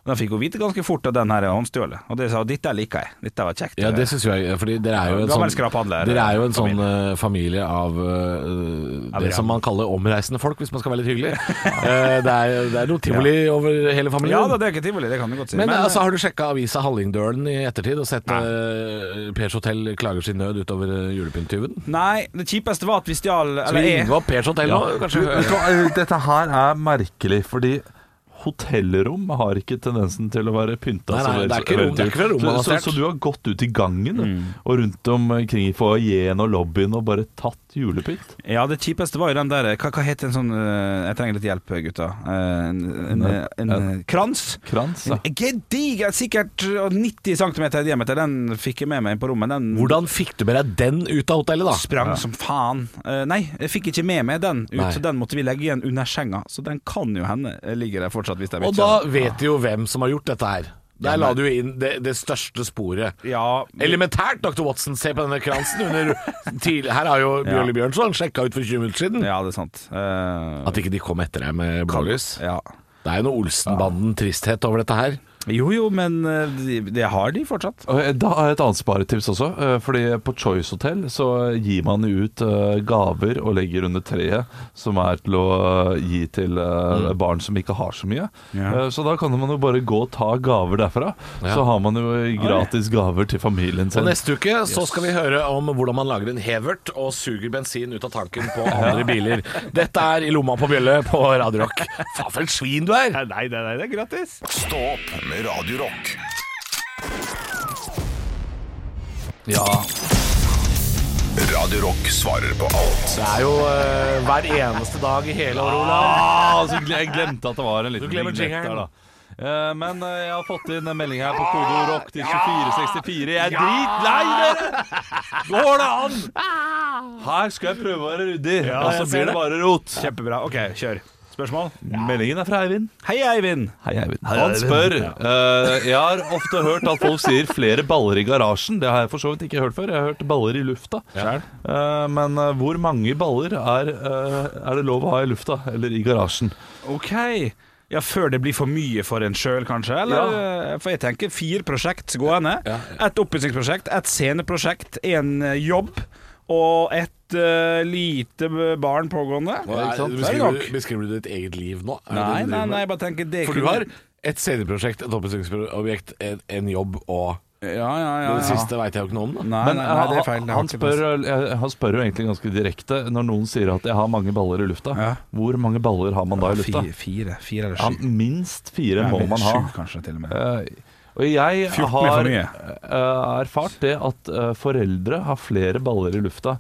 Og Den fikk hun vite ganske fort at den her er håndstjålet, og det sa hun dette liker jeg. Dette var kjekt. Ja, det syns jeg. Fordi dere er jo en Gammel sånn, skraphandler, dere er jo en familie. sånn eh, familie av eh, det som man kaller omreisende folk, hvis man skal være litt hyggelig. Eh, det, er, det er noe tivoli over hele familien. ja da, det er ikke tivoli, det kan du godt si. men, Men, altså, eh, har du sjekka avisa Hallingdølen i ettertid og sett uh, Pers Hotell klager sin nød utover eh, julepynttyven? Nei, det kjipeste var at vi stjal Skal Eller vi jeg ringe opp Pers Hotell nå? Du, Kanskje? vet du hva, eh, dette her er merkelig, fordi hotellrom har ikke tendensen til å være pynta. Nei, nei, så vel- det er ikke rom- det er ikke fra rommet Mm. så, man har så, stjålet. så du har gått ut i gangen og rundt omkring i foajeen og lobbyen og bare tatt julepynt? Ja, det kjipeste var jo den der Hva, hva het en sånn eh, Jeg trenger litt hjelp, gutta. Eh, En, en, en, eh, krans? Krans, da. En Gedigen, sikkert eh, 90 cm i diameter. Den fikk jeg med meg på rommet. Den Hvordan fikk du med deg den ut av hotellet, da? sprang som faen. Eh, nei, jeg fikk ikke med meg den ut. Nei. Den måtte vi legge igjen under senga, så den kan jo hende ligger der fortsatt. Hvis jeg Og da vet du jo hvem som har gjort dette her. Der la du inn det, det største sporet. Ja, Elementært, dr. Watson. Se på denne kransen under til, Her har jo Bjørli Bjørnson sjekka ut for 20 minutter siden. ja, det er sant. Eh, At ikke de kom etter deg med blålys. ja. Det er jo noe Olsenbanden-tristhet over dette her. Jo jo, men eh, de- det har de fortsatt. Og, eh, Da har jeg et annet sparetips også. eh, Fordi På Choice Hotel så gir man jo ut eh, gaver og legger under treet som er til å eh, gi til eh, Mm. barn som ikke har så mye. Ja. Eh, Så da kan man jo bare gå og ta gaver derfra. Ja. Så har man jo gratis gaver til familien Og sin. neste uke så skal vi høre om hvordan man lager en hevert og suger bensin ut av tanken på andre biler. Dette er I lomma på bjølle på Radio Rock. Faen, for et svin du er! Nei, nei, nei, det er gratis. Stå opp med Radio Rock. Ja. Radio Rock svarer på alt. Det er jo eh, hver eneste dag i hele året, Olav. Ah, så gle- jeg glemte at det var en liten Du glemmer vignett jingeren. da. Eh, men eh, jeg har fått inn en melding her på Kodo Rock til 2464. Jeg er dritlei dere! Går det an? Her skal jeg prøve å være ryddig, og jeg så ser blir det det. bare rot. Kjempebra. OK, kjør. Spørsmål? Meldingen er fra Eivind. Hei, Eivind. Hei, Eivind. Han spør eh, Jeg har ofte hørt at folk sier 'flere baller i garasjen'. Det har jeg for så vidt ikke hørt før. Jeg har hørt 'baller i lufta'. Eh, men eh, hvor mange baller er, eh, er det lov å ha i lufta, eller i garasjen? OK. Ja, Før det blir for mye for en sjøl, kanskje? Eller? Eh, For jeg tenker fire prosjekt gående. Et oppussingsprosjekt, et sceneprosjekt, en eh, jobb og et eh, lite barn pågående. Nå er, Så er det beskriver, nok. du, beskriver du ditt eget liv nå? Er det Nei, det du nei, driver med? nei, jeg bare tenker det For du har et CD-prosjekt, et oppussingsobjekt, en, en jobb og Ja, ja, ja. Det ja. siste veit jeg jo ikke noe om, da. Nei, Men nei, nei, det er han- feil. det har han, ikke plass. spør, eh, han spør jo egentlig ganske direkte når noen sier at 'jeg har mange baller i lufta'. Ja. Hvor mange baller har man da i lufta? Fire, fire, fire eller Ja, sju. minst fire må man Sju, ha. kanskje, til og med. Eh, og jeg 14 er for har mye. eh, erfart det at eh, foreldre har flere baller i lufta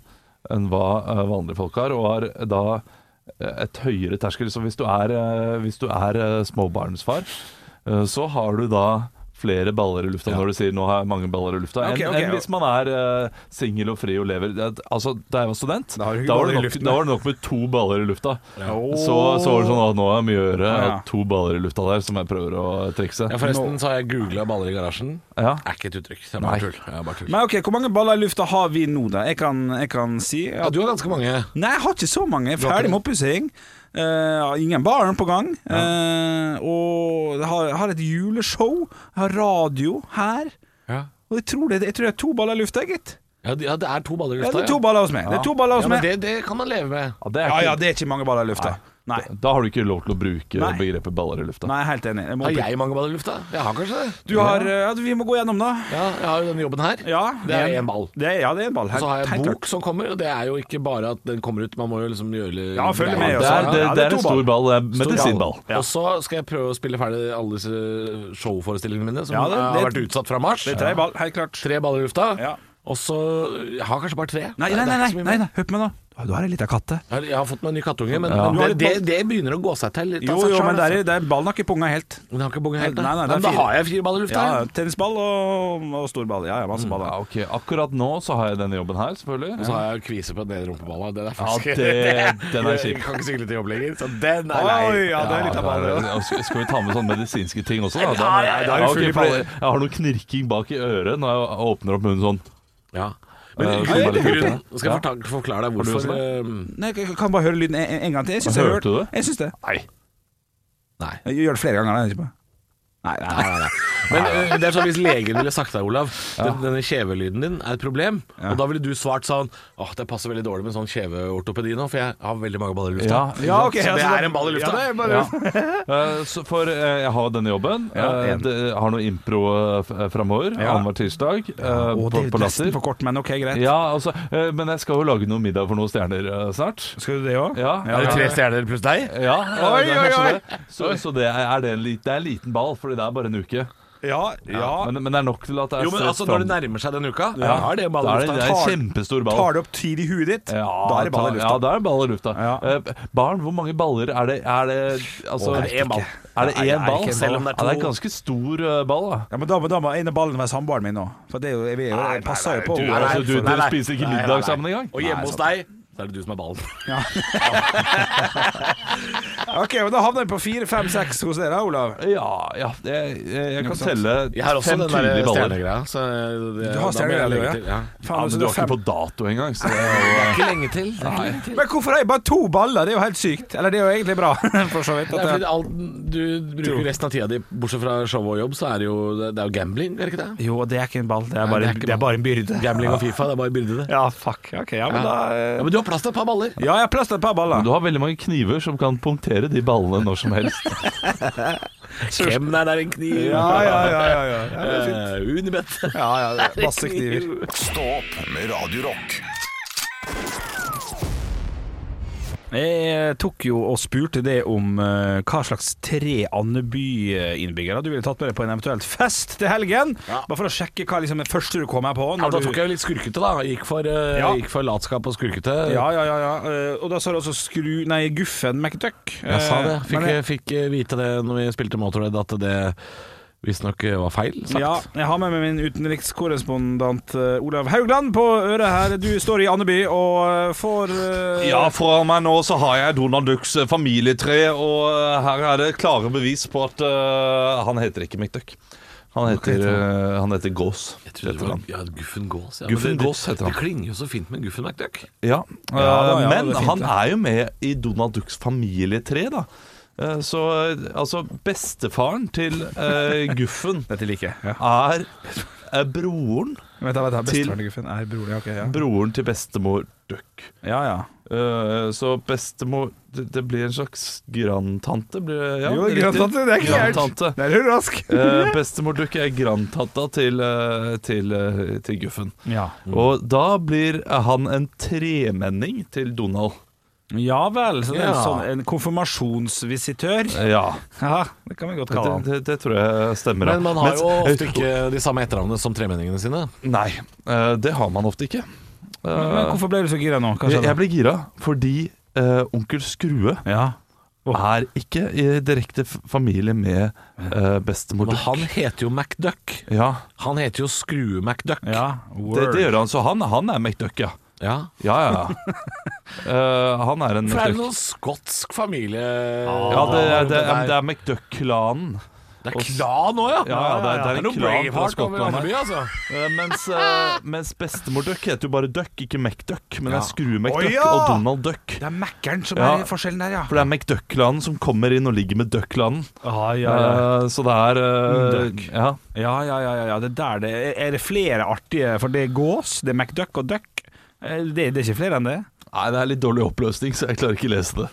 enn hva eh, vanlige folk har, og har da eh, et høyere terskel. Så hvis du er, eh, hvis du er eh, småbarnsfar, eh, så har du da flere baller i lufta når du sier 'nå har jeg mange baller i lufta', Ok, enn ok. enn hvis man er eh, singel og fri og lever det, Altså, Da jeg var student, Da har du da var, baller i det nok, luften. da var det nok med to baller i lufta. Åh. Så, så var det sånn at nå har jeg mye å gjøre, jeg Ja. har to baller i lufta der som jeg prøver å trikse. Ja, forresten så har jeg googla 'baller i garasjen'. Ja. Er ikke et uttrykk. Det er bare tull. Ja, bare tull. Men ok, Hvor mange baller i lufta har vi nå, da? Jeg kan, jeg kan si ja, at du har ganske mange. Nei, jeg har ikke så mange. Jeg er Ferdig med oppussing. Eh, har ingen barn på gang. Eh, og jeg har, jeg har et juleshow. Jeg har radio her. Ja. Og jeg tror det, jeg tror det er to baller i lufta, gitt. Ja, det- ja, det er to baller i Ja, lufta. det er to baller altså, hos meg. Det er to baller Ja, hos men meg. det, det kan man leve med. Ja, det er Ja, ikke, ja, det er ikke mange baller i lufta. Nei. Da har du ikke lov til å bruke Nei. begrepet baller i lufta. Nei, jeg er helt enig. Jeg må Har opp- jeg mange baller i lufta? Jeg har kanskje det. Du har eh, Ja, vi må gå gjennom, da. Ja, jeg har jo denne jobben her. Ja, det er en- én ball. Det er, ja, det er en ball. Og så har jeg Helt en klart. bok som kommer, og det er jo ikke bare at den kommer ut, man må jo liksom gjøre litt Ja, følg med greier. Det også. er, det, Ja, det er det er to en stor ball. Det er medisinball. Og så skal jeg prøve å spille ferdig alle disse showforestillingene mine som Ja, det- har det- vært utsatt fra mars. Det er tre ball, helt klart. Tre baller i lufta. Ja. Og så Jeg har kanskje bare tre. Nei, Det er nei, nei, ikke nei, så mye nei, mer. nei. hør på meg nå. Du har ei lita katte. Jeg har- Jeg har fått meg en ny kattunge, men, Ja. men Du har det, litt det, det begynner å gå seg til. litt Jo, av seg jo, selv, men det altså. er, det er ballen har ikke punga helt. Den har ikke bonget helt, Nei, nei, det Men er da fire. har jeg fire baller i lufta. Ja, tennisball og, og stor ball. Ja, ja, masse ball. Ja, da. ok, Akkurat nå så har jeg denne jobben her, Og selvfølgelig. så har jeg kvise på den ene rumpeballa. Den er Ja, faktisk det, den er Jeg kjip. kan ikke sykle til jobb lenger, så den er lei. Oi, ja, det er litt av ball. det. Ja, skal skal vi ta med sånne medisinske ting også? Da? Ja, ja, ja, ok, full i for baller. jeg har noe knirking bak i øret når jeg åpner opp munnen sånn. Ja. Men Eh, grunnen, det hørte jeg. nå skal jeg forta- forklare deg du hvorfor også eh, Nei, jeg kan bare høre lyden en, en gang til. Jeg syns jeg Hørte hørte du det? Jeg syns det. Nei. Nei. Jeg gjør det flere ganger. da, jeg er ikke på. Nei, nei, nei, nei. Men eh, det er sånn hvis legen ville sagt deg, Olav den, Denne kjevelyden din er et problem Og da ville du svart sånn Åh, det passer veldig dårlig med sånn kjeveortopedi nå For jeg har veldig mange baller i lufta Ja, Ja, ok. Så det altså, er en ball i lufta Ja, det er bare- Ja. Eh, så for eh, jeg har denne jobben. Ja, Eh, en. det, jeg har noe impro uh, framover Ja. annenhver tirsdag eh, Å, på, det er jo på nesten Latter. for kort, men ok, greit. Ja, altså, eh, men jeg skal jo lage noe middag for noen stjerner eh, snart. Skal du det òg? Ja. Er det tre stjerner pluss deg? Ja, eh, Oi, det er oi, kanskje oi. det. Så, så det er, er det, en lit, det er en liten ball, Fordi det er bare en uke. Ja, ja. Men, men det er nok til at det er Jo, men sett altså fram- når det nærmer seg den uka ja, Da er det en ball i da er det, det lufta er Tar- en kjempestor ball. Tar det opp tid i huet ditt, da er det ball i ta- lufta. Ja, da er det ball i lufta. Ja. Eh, barn, hvor mange baller er det? Er det altså, Å, det er en ball. Er det Nei, det er én ball? ikke en ball. Ja, det er en ganske stor eh, ball, da. Ja, men da, må- da må en av ballene være samboeren min nå. For det er jo, jeg, jeg, jeg passer jo på du- henne. altså, dere spiser ikke middag sammen engang? Og hjemme hos deg Så er det du som er ballen Ok, men Da havner vi på fire, fem, seks hos dere, Olav. Ja, ja jeg, jeg, jeg kan sant? telle Jeg har også fem den der eh, tydelige baller. stjernegreia så det- Du har da må jeg stjernegreia, legge ja. til, ja. Ja, Faen, men altså, du det har er ikke fem. på dato engang, så det er jo- Det er ikke lenge til Det er ikke lenge til Men hvorfor har jeg bare to baller? Det er jo helt sykt. Eller det er jo egentlig bra, for så vidt. Det er At fordi jeg... alt du bruker resten av tida di, bortsett fra show og jobb, så er det jo, det er jo gambling, er det ikke det? Jo, det er ikke en ball. Det er Nei, bare, det er ikke det er bare en byrde. Gambling og Fifa, det er bare byrde, det. Ja, fuck. Ok, ja, men da eh, Ja, men du har plass til et par baller. Ja, jeg har plass til et par baller. Du har veldig mange kniver som kan punktere de ballene når som helst. Hvem er der en kniv? Ja, ja, ja. ja, ja. ja det er fint. Eh, Unibet. Ja, ja, det er masse kniver. Stå opp med Radio Rock. Jeg tok jo og spurte det om eh, hva slags tre Andeby-innbyggere du ville tatt med deg på en eventuelt fest til helgen. Bare for å sjekke hva liksom, det første du kom her på. Ja, når da du- tok jeg jo litt skurkete, da. Gikk for, eh, Ja. gikk for latskap og skurkete. Ja, ja, ja, ja. Eh, Og da sa du også skru... Nei, Guffen McDuck. Jeg sa det. Eh, Fikk, men jeg fikk eh, vite det når vi spilte Motorhead, at det visstnok eh, var feil sagt. Ja, jeg har med meg min utenrikskorrespondent eh, Olav Haugland på øret her. Du står i Andeby og eh, får eh, Ja, foran meg nå så har jeg Donald Ducks eh, familietre, og eh, her er det klare bevis på at eh, han heter ikke McDuck. Han heter, eh, han heter Gås. Jeg trodde det heter var han. ja, Guffen Gås. Ja. Guffen Men det, Gås heter han. Det klinger jo så fint med Guffen McDuck. Ja, da, ja, eh, men det er fint, han det. er jo med i Donald Ducks familietre, da. Eh, Så eh, altså Bestefaren til eh, Guffen Dette liker jeg. Ja. er eh, broren Vent, da, vent, da. Til- Bestefaren til Guffen er bror. Ja, ok, ja. Broren til bestemor Duck. ja, ja. Eh, så bestemor det, det blir en slags grandtante? Blir, det- ja, Jo, riktig. grandtante, det er ikke gærent. Grandtante. Der er du rask. Eh, bestemor Duck er grandtanta til, eh, til, eh, til Guffen. Ja. Mm. Og da blir eh, han en tremenning til Donald. ja vel, så det er en, Ja. sånn, en konfirmasjonsvisitør. Eh, Ja, Ja, det kan vi godt kalle det, han. det, det tror jeg stemmer. ja. Men man har Mens- jo ofte ikke de samme etternavnene som tremenningene sine. Nei, eh, det har man ofte ikke. Men Hvorfor ble du så gira nå? Hva Jeg, jeg skjedde? ble gira fordi eh, onkel Skrue Ja. er ikke i direkte f- familie med eh, bestemor Men Duck. han heter jo McDuck. Ja, Han heter jo Skrue-McDuck. ja. det, Word. det gjør han, så han, han er McDuck, ja. Ja. Ja, ja, ja. Eh, han er en For det er jo McDuck. noen skotsk familie Ja, det, er- det, er- der. det er McDuck-klanen. Det er klan òg, ja. Ja, ja, det er, det er en noe klan fra Braveheart over Skottland. Andeby, her. altså. Eh, mens, eh, mens bestemor Duck heter jo bare Duck, ikke McDuck, men det er Skrue-McDuck Å, ja! og Donald Duck. Det er Mækkern som Ja. er forskjellen der, ja. For det er McDuck-klanen som kommer inn og ligger med Duck-klanen. Ah, Eh, så det er eh, Mm, Duck. Ja. Ja, ja, ja, ja, ja. Det der det Er det flere artige For det er gås, det er McDuck og duck. Eh, Det, det er ikke flere enn det. Nei, det er litt dårlig oppløsning, så jeg klarer ikke lese det.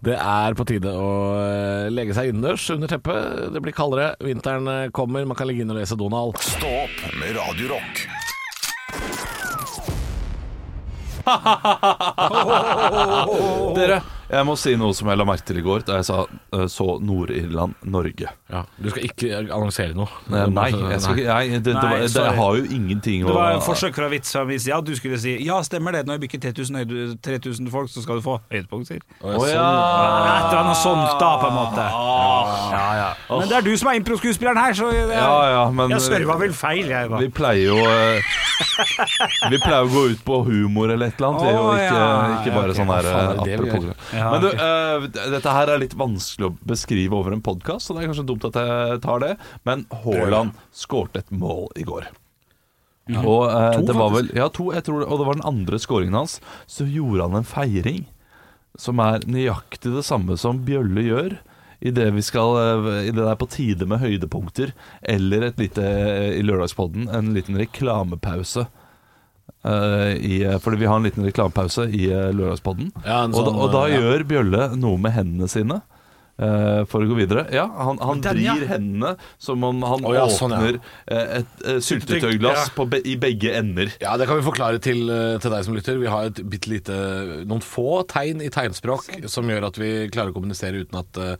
Det er på tide å eh, legge seg innendørs under teppet. Det blir kaldere, vinteren eh, kommer, man kan ligge inne og lese Donald. Stå opp med Radio Rock. Dere, jeg må si noe som jeg la merke til i går da jeg sa eh, så Nord-Irland, Norge. Ja, du skal ikke annonsere noe? Eh, Nei, jeg skal ikke Nei, det, det, Nei, var- det, sorry. jeg har jo ingenting Det var en forsøk fra Vits som viste ja, du skulle si ja, stemmer det, når jeg bikker 3000, høyde- 3000 folk, så skal du få høydepunkter. Å Å ja. Et eller annet sånt, da, på en måte. ja, ja. Men det er du som er impro-skuespilleren her, så jeg, ja, ja, men jeg serva vel feil, jeg, da. Vi pleier jo eh, Vi pleier å gå ut på humor eller et eller annet. Vi er jo Å, ikke, ja. ikke bare ok. sånn her Ja, faen, det er det vi apropos. Ja, Men du, eh, dette her er litt vanskelig å beskrive over en podkast, så det er kanskje dumt at jeg tar det, men Haaland skårte et mål i går. Og eh, det var vel Ja, to, jeg tror det, og det var den andre skåringen hans. Så gjorde han en feiring som er nøyaktig det samme som Bjølle gjør. I det, vi skal, eh, I det der på tide med høydepunkter, eller et lite, eh, i lørdagspodden, en liten reklamepause. Eh, i, eh, fordi vi har en liten reklamepause i eh, lørdagspodden. Ja, en og, da, sånn, og da eh, ja. gjør Bjølle noe med hendene sine. eh, for å gå videre. Ja, han, han Den, ja. vrir hendene som om han Å, ja, sånn, ja. åpner eh, et eh, Ja. syltetøyglass på be i begge ender. Ja, Det kan vi forklare til, eh, til deg som lytter. Vi har et bitte lite noen få tegn i tegnspråk som gjør at vi klarer å kommunisere uten at eh,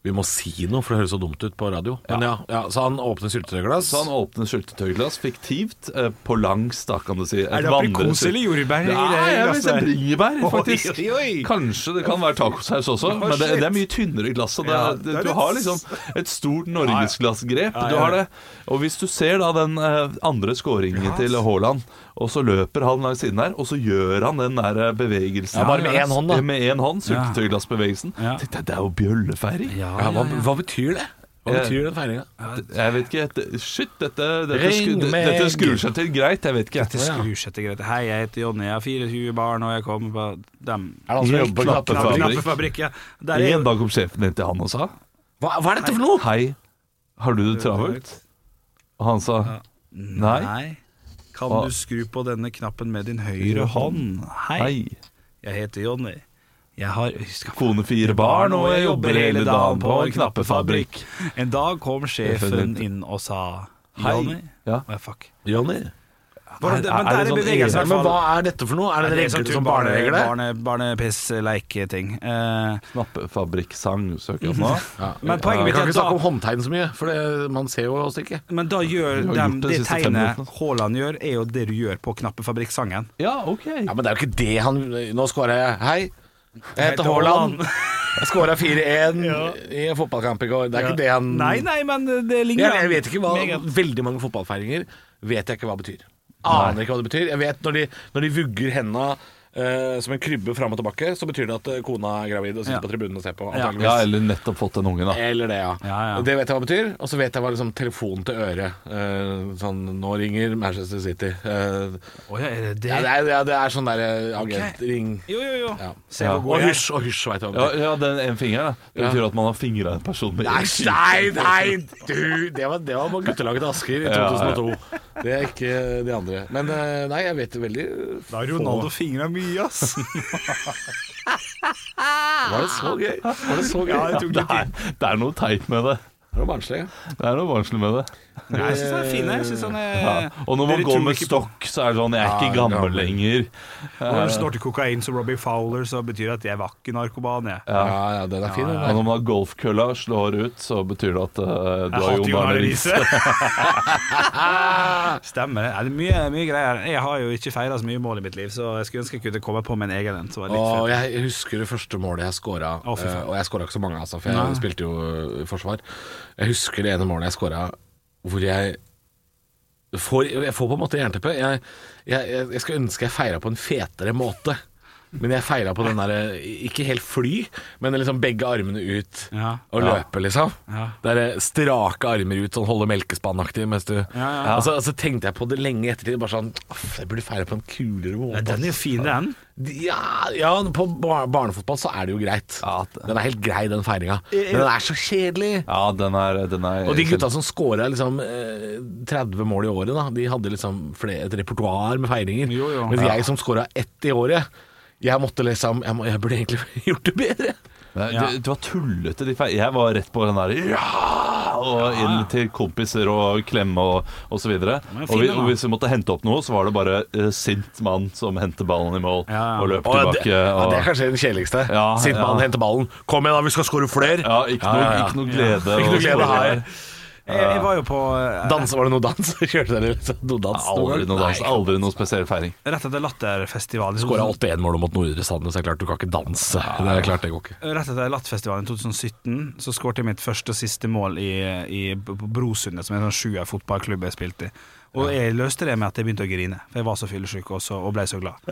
vi må si noe, for det høres så dumt ut på radio. Men ja, ja Så han åpner syltetøyglass. Så han åpner syltetøyglass fiktivt eh, på langs, da kan du si. Et Er det aprikos vandresylt- eller jordbær? i det altså- Nei, jeg vil si glasset? bringebær, faktisk. Oi, oi. Kanskje det kan være tacosaus også, men det, det er mye tynnere i glasset. Det, Ja, det- det er du litt- har liksom et stort norgesglassgrep. ja. Du har det. Og hvis du ser da den eh, andre scoringen til Haaland, og så løper han langs siden her, og så gjør han den der eh, bevegelsen Ja, bare med én hånd, da. Med én hånd, syltetøyglassbevegelsen. Ja. Tenk deg, Det er jo bjøllefeiring. ja, hva, hva betyr det? Hva Eh, betyr den feiringa? Jeg vet ikke det- Shit, dette, dette, Ring sku- meg. dette skrur seg til greit. Jeg vet ikke. Til skruskjette greit. Hei, jeg heter Jonny, jeg har 24 barn, og jeg kommer på dem. Er det han som jobber på knappefabrikk? Knappefabrikk, ja. Der er En jo- dag kom sjefen inn til han og sa Hva, hva er dette for noe? Hei, har du det travelt? Og han sa Nei. Nei. Kan Hva? du skru på denne knappen med din høyre hånd? Hei, Hei. jeg heter Jonny. Jeg har skal- Kone, fire barn, og jeg jobber hele dagen på en knappefabrikk. En dag kom Jeg føler sjefen det. inn og sa Hei. Jonny. Ja. Å, fuck. Johnny? Men Er- det- er men der det er sånn bevegelsen, i hvert Men egen- fall. hva er dette for noe? Er det, det en sånn regel type som barneregler der? Barne, Barnepiss-leikting. Eh, Snappefabrikksang søker jeg opp nå. Ja. Men poenget vi mitt kan er ikke at da- snakke om håndtegn så mye, for det, man ser jo oss ikke. men da gjør har gjort det dem det de siste fem tegnet minuttene. Haaland gjør, er jo det du gjør på Knappefabrikksangen. Ja, ok. Ja, Men det er jo ikke det han Nå skårer jeg. Hei, jeg heter heter Haaland. Jeg skåra 4-1 i en fotballkamp i går. Det er ikke det han Nei, nei, men eh, det Mm. ligner Jeg, jeg vet ikke hva meget. Veldig mange fotballfeiringer vet jeg ikke hva betyr. Aner ikke hva det betyr. Jeg vet når de, når de vugger henda eh, som en krybbe fram og tilbake, så betyr det at eh, kona er gravid og sitter på Ja. tribunen og ser på. Ja. antageligvis. Ja, eller nettopp fått en unge, da. Eller det, ja. Ja, ja. Og Det vet jeg hva det betyr. Og så vet jeg hva liksom, telefon til øre eh, Sånn, nå ringer Manchester City. Eh, Å ja, er det det? ja, det er, ja, det er sånn derre agentring. Jo, jo, jo. Ja. Se hvor god Og jeg er. hysj og hysj, veit jeg hva det Ja, betyr. ja den en finger, da. Det Ja. betyr at man har fingra en person med Nei, én finger. nei, nei, du! Det var, det var på guttelaget til Asker i 2002. Det er ikke de andre. Men eh, nei, jeg vet veldig Da har Ronaldo fingra mye, ass. Var det så gøy? Var det så gøy? Ja, jeg det Det tok litt tid. er, det er noe teit med det. var barnslig. ja. Det er noe barnslig med det. Nei, Jeg syns han er fin. jeg. Jeg synes han er Ja. Og når man Dere går tror med ikke på- stokk, så er det sånn Jeg er ikke Ja, gammel gammel. lenger. Og Når du snorter kokain som Robbie Fowler, så betyr det at jeg var ikke narkoman, jeg. Ja, ja, den er fin. den Og der. når man har golfkølla slår ut, så betyr det at eh, du Jeg har hater Jon Arne Riise. Stemmer det. Ja, det er mye, mye greier. Jeg har jo ikke feira så mye mål i mitt liv, så jeg skulle ønske jeg kunne komme på min egen en. som var litt Og fet. jeg husker det første målet jeg skåra. Å, fy faen. eh, og jeg skåra ikke så mange, altså, for jeg spilte jo eh, forsvar. Jeg husker det ene målet jeg skåra hvor jeg får, jeg får på en måte jernteppe. Jeg, jeg, jeg jeg skulle ønske jeg feira på en fetere måte. Men jeg feira på den derre Ikke helt fly, men liksom begge armene ut Ja. og løpe, liksom. Ja. Det er eh, strake armer ut, sånn holde melkespannaktig mens du ja, ja. Og så, og så tenkte jeg på det lenge i ettertid. Bare sånn «Aff, Jeg burde feira på en kulere måte. Ja, Den er jo fin, den. Ja, ja på bar barnefotball så er det jo greit. Ja, det- Den er helt grei, den feiringa. Men den er så kjedelig. Ja, den er, den er Og de gutta som scora liksom, eh, 30 mål i året, da, de hadde liksom flere, et repertoar med feiringer. Jo, jo. Mens jeg som scora ett i året, jeg måtte liksom Jeg, må, jeg burde egentlig gjort det bedre. Nei, Ja. det, det var tullete. De feil. Jeg var rett på den der ja! Og inn til kompiser og klemme og, og så videre. Men fin Og, vi, den, da. og hvis vi måtte hente opp noe, så var det bare eh, sint mann som hentet ballen i mål Ja, ja. og løp Og det, tilbake. ja, Og, det er kanskje den kjedeligste. Ja, Sitt ja. mann, hente ballen. Kom igjen, da, vi skal score flere! ja, ikke, Ja, noe, ja, ja. ikke noe glede. Ikke noe og- glede her. Jeg, jeg var jo på eh, Danse, var det noe dans? Kjørte dere liksom noe dans? Aldri noe dans, Nei. aldri noe spesiell feiring. Rett etter Latterfestivalen. i Skåra 81-mål mot Nordre Sandnes, det er klart du kan ikke danse. Det er klart det går ikke. Rett etter Lattfestivalen i 2017 så skårte jeg mitt første og siste mål i, i på Brosundet, som er en sånn sjuer fotballklubb jeg spilte i. Og jeg løste det med at jeg begynte å grine, for jeg var så fyllesyk og, så, og ble så glad.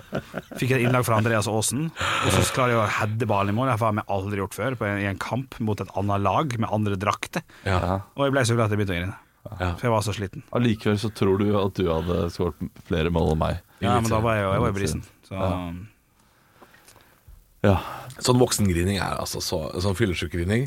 Fikk et innlag fra Andreas Aasen, og så klarer jeg å heade ballen i mål. Det har jeg faen meg aldri gjort før, på en, i en kamp mot et annet lag med andre drakter. Ja. Og jeg ble så glad at jeg begynte å grine, for jeg var så sliten. Allikevel så tror du at du hadde skåret flere mål enn meg. Ja, men da var jeg jo jeg var i brisen. Så Ja. Sånn voksengrining er altså så, sånn fyllesjukgrining.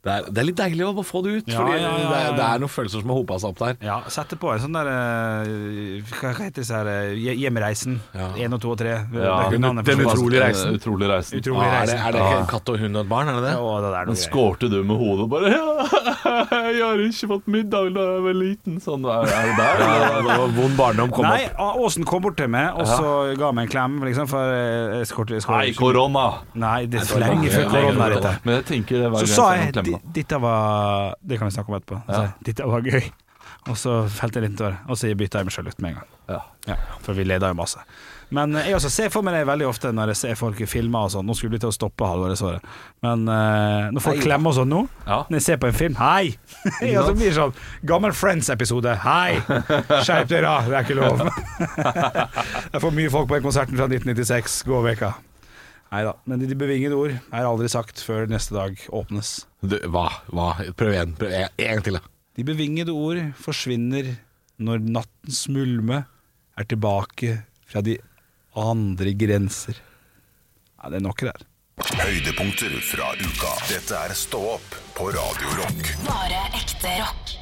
Det, er- det er litt deilig å bare få det ut, Ja, Fordi ja, ja, Det, er, ja. det er noen følelser som har hopa seg opp der. ja, sette på en sånn der eh, Hva hva heter disse her eh, hje- Hjemreisen. Ja. Én og to og tre. Ja. Det er hundene Den for- utrolige reisen. Den utrolige reisen. Utrolig. Ah, er, det, reisen. er det ikke en katt og hund og et barn, er det det? Å, det der er Men noe greier. skårte du med hodet og bare ja, 'Jeg har ikke fått middag da jeg var liten.' Sånn er, er det der. Ja, eller? det var vond barndom kom Nei, opp. A- Åsen kom bort til meg og så ga meg en klem, liksom, for eh, jeg skårte jeg skårte Nei, ikke. korona. Nei, det er var lenge lenge før før korona. korona. dette. Men jeg tenker det Så hver gang sa jeg får jeg en klemme. "Di- dette var Det kan vi snakke om etterpå. Så sa jeg, Dette var gøy. Og så felte jeg litt tårer, og så bytta jeg meg sjøl ut med en gang. Ja. Ja, for vi leda jo masse. Men eh, jeg også ser for meg det veldig ofte når jeg ser folk i filmer og sånn. Nå skulle vi til å stoppe halvåret, så det. Men eh, når folk klemmer og sånn nå, Ja. når jeg ser på en film Hei! Jeg også blir sånn Gammel Friends-episode. Hei! Skjerp dere, da! Det er ikke lov. Jeg får mye folk på den konserten fra 1996. Gå vekka. Nei da. Men de bevingede ord er aldri sagt før neste dag åpnes. Du, hva? hva? Prøv igjen. Prøv en, en til, da. De bevingede ord forsvinner når nattens mulme er tilbake fra de andre grenser. Nei, det er nok det her. Høydepunkter fra uka. Dette er Stå opp på Radio Rock. Bare ekte rock.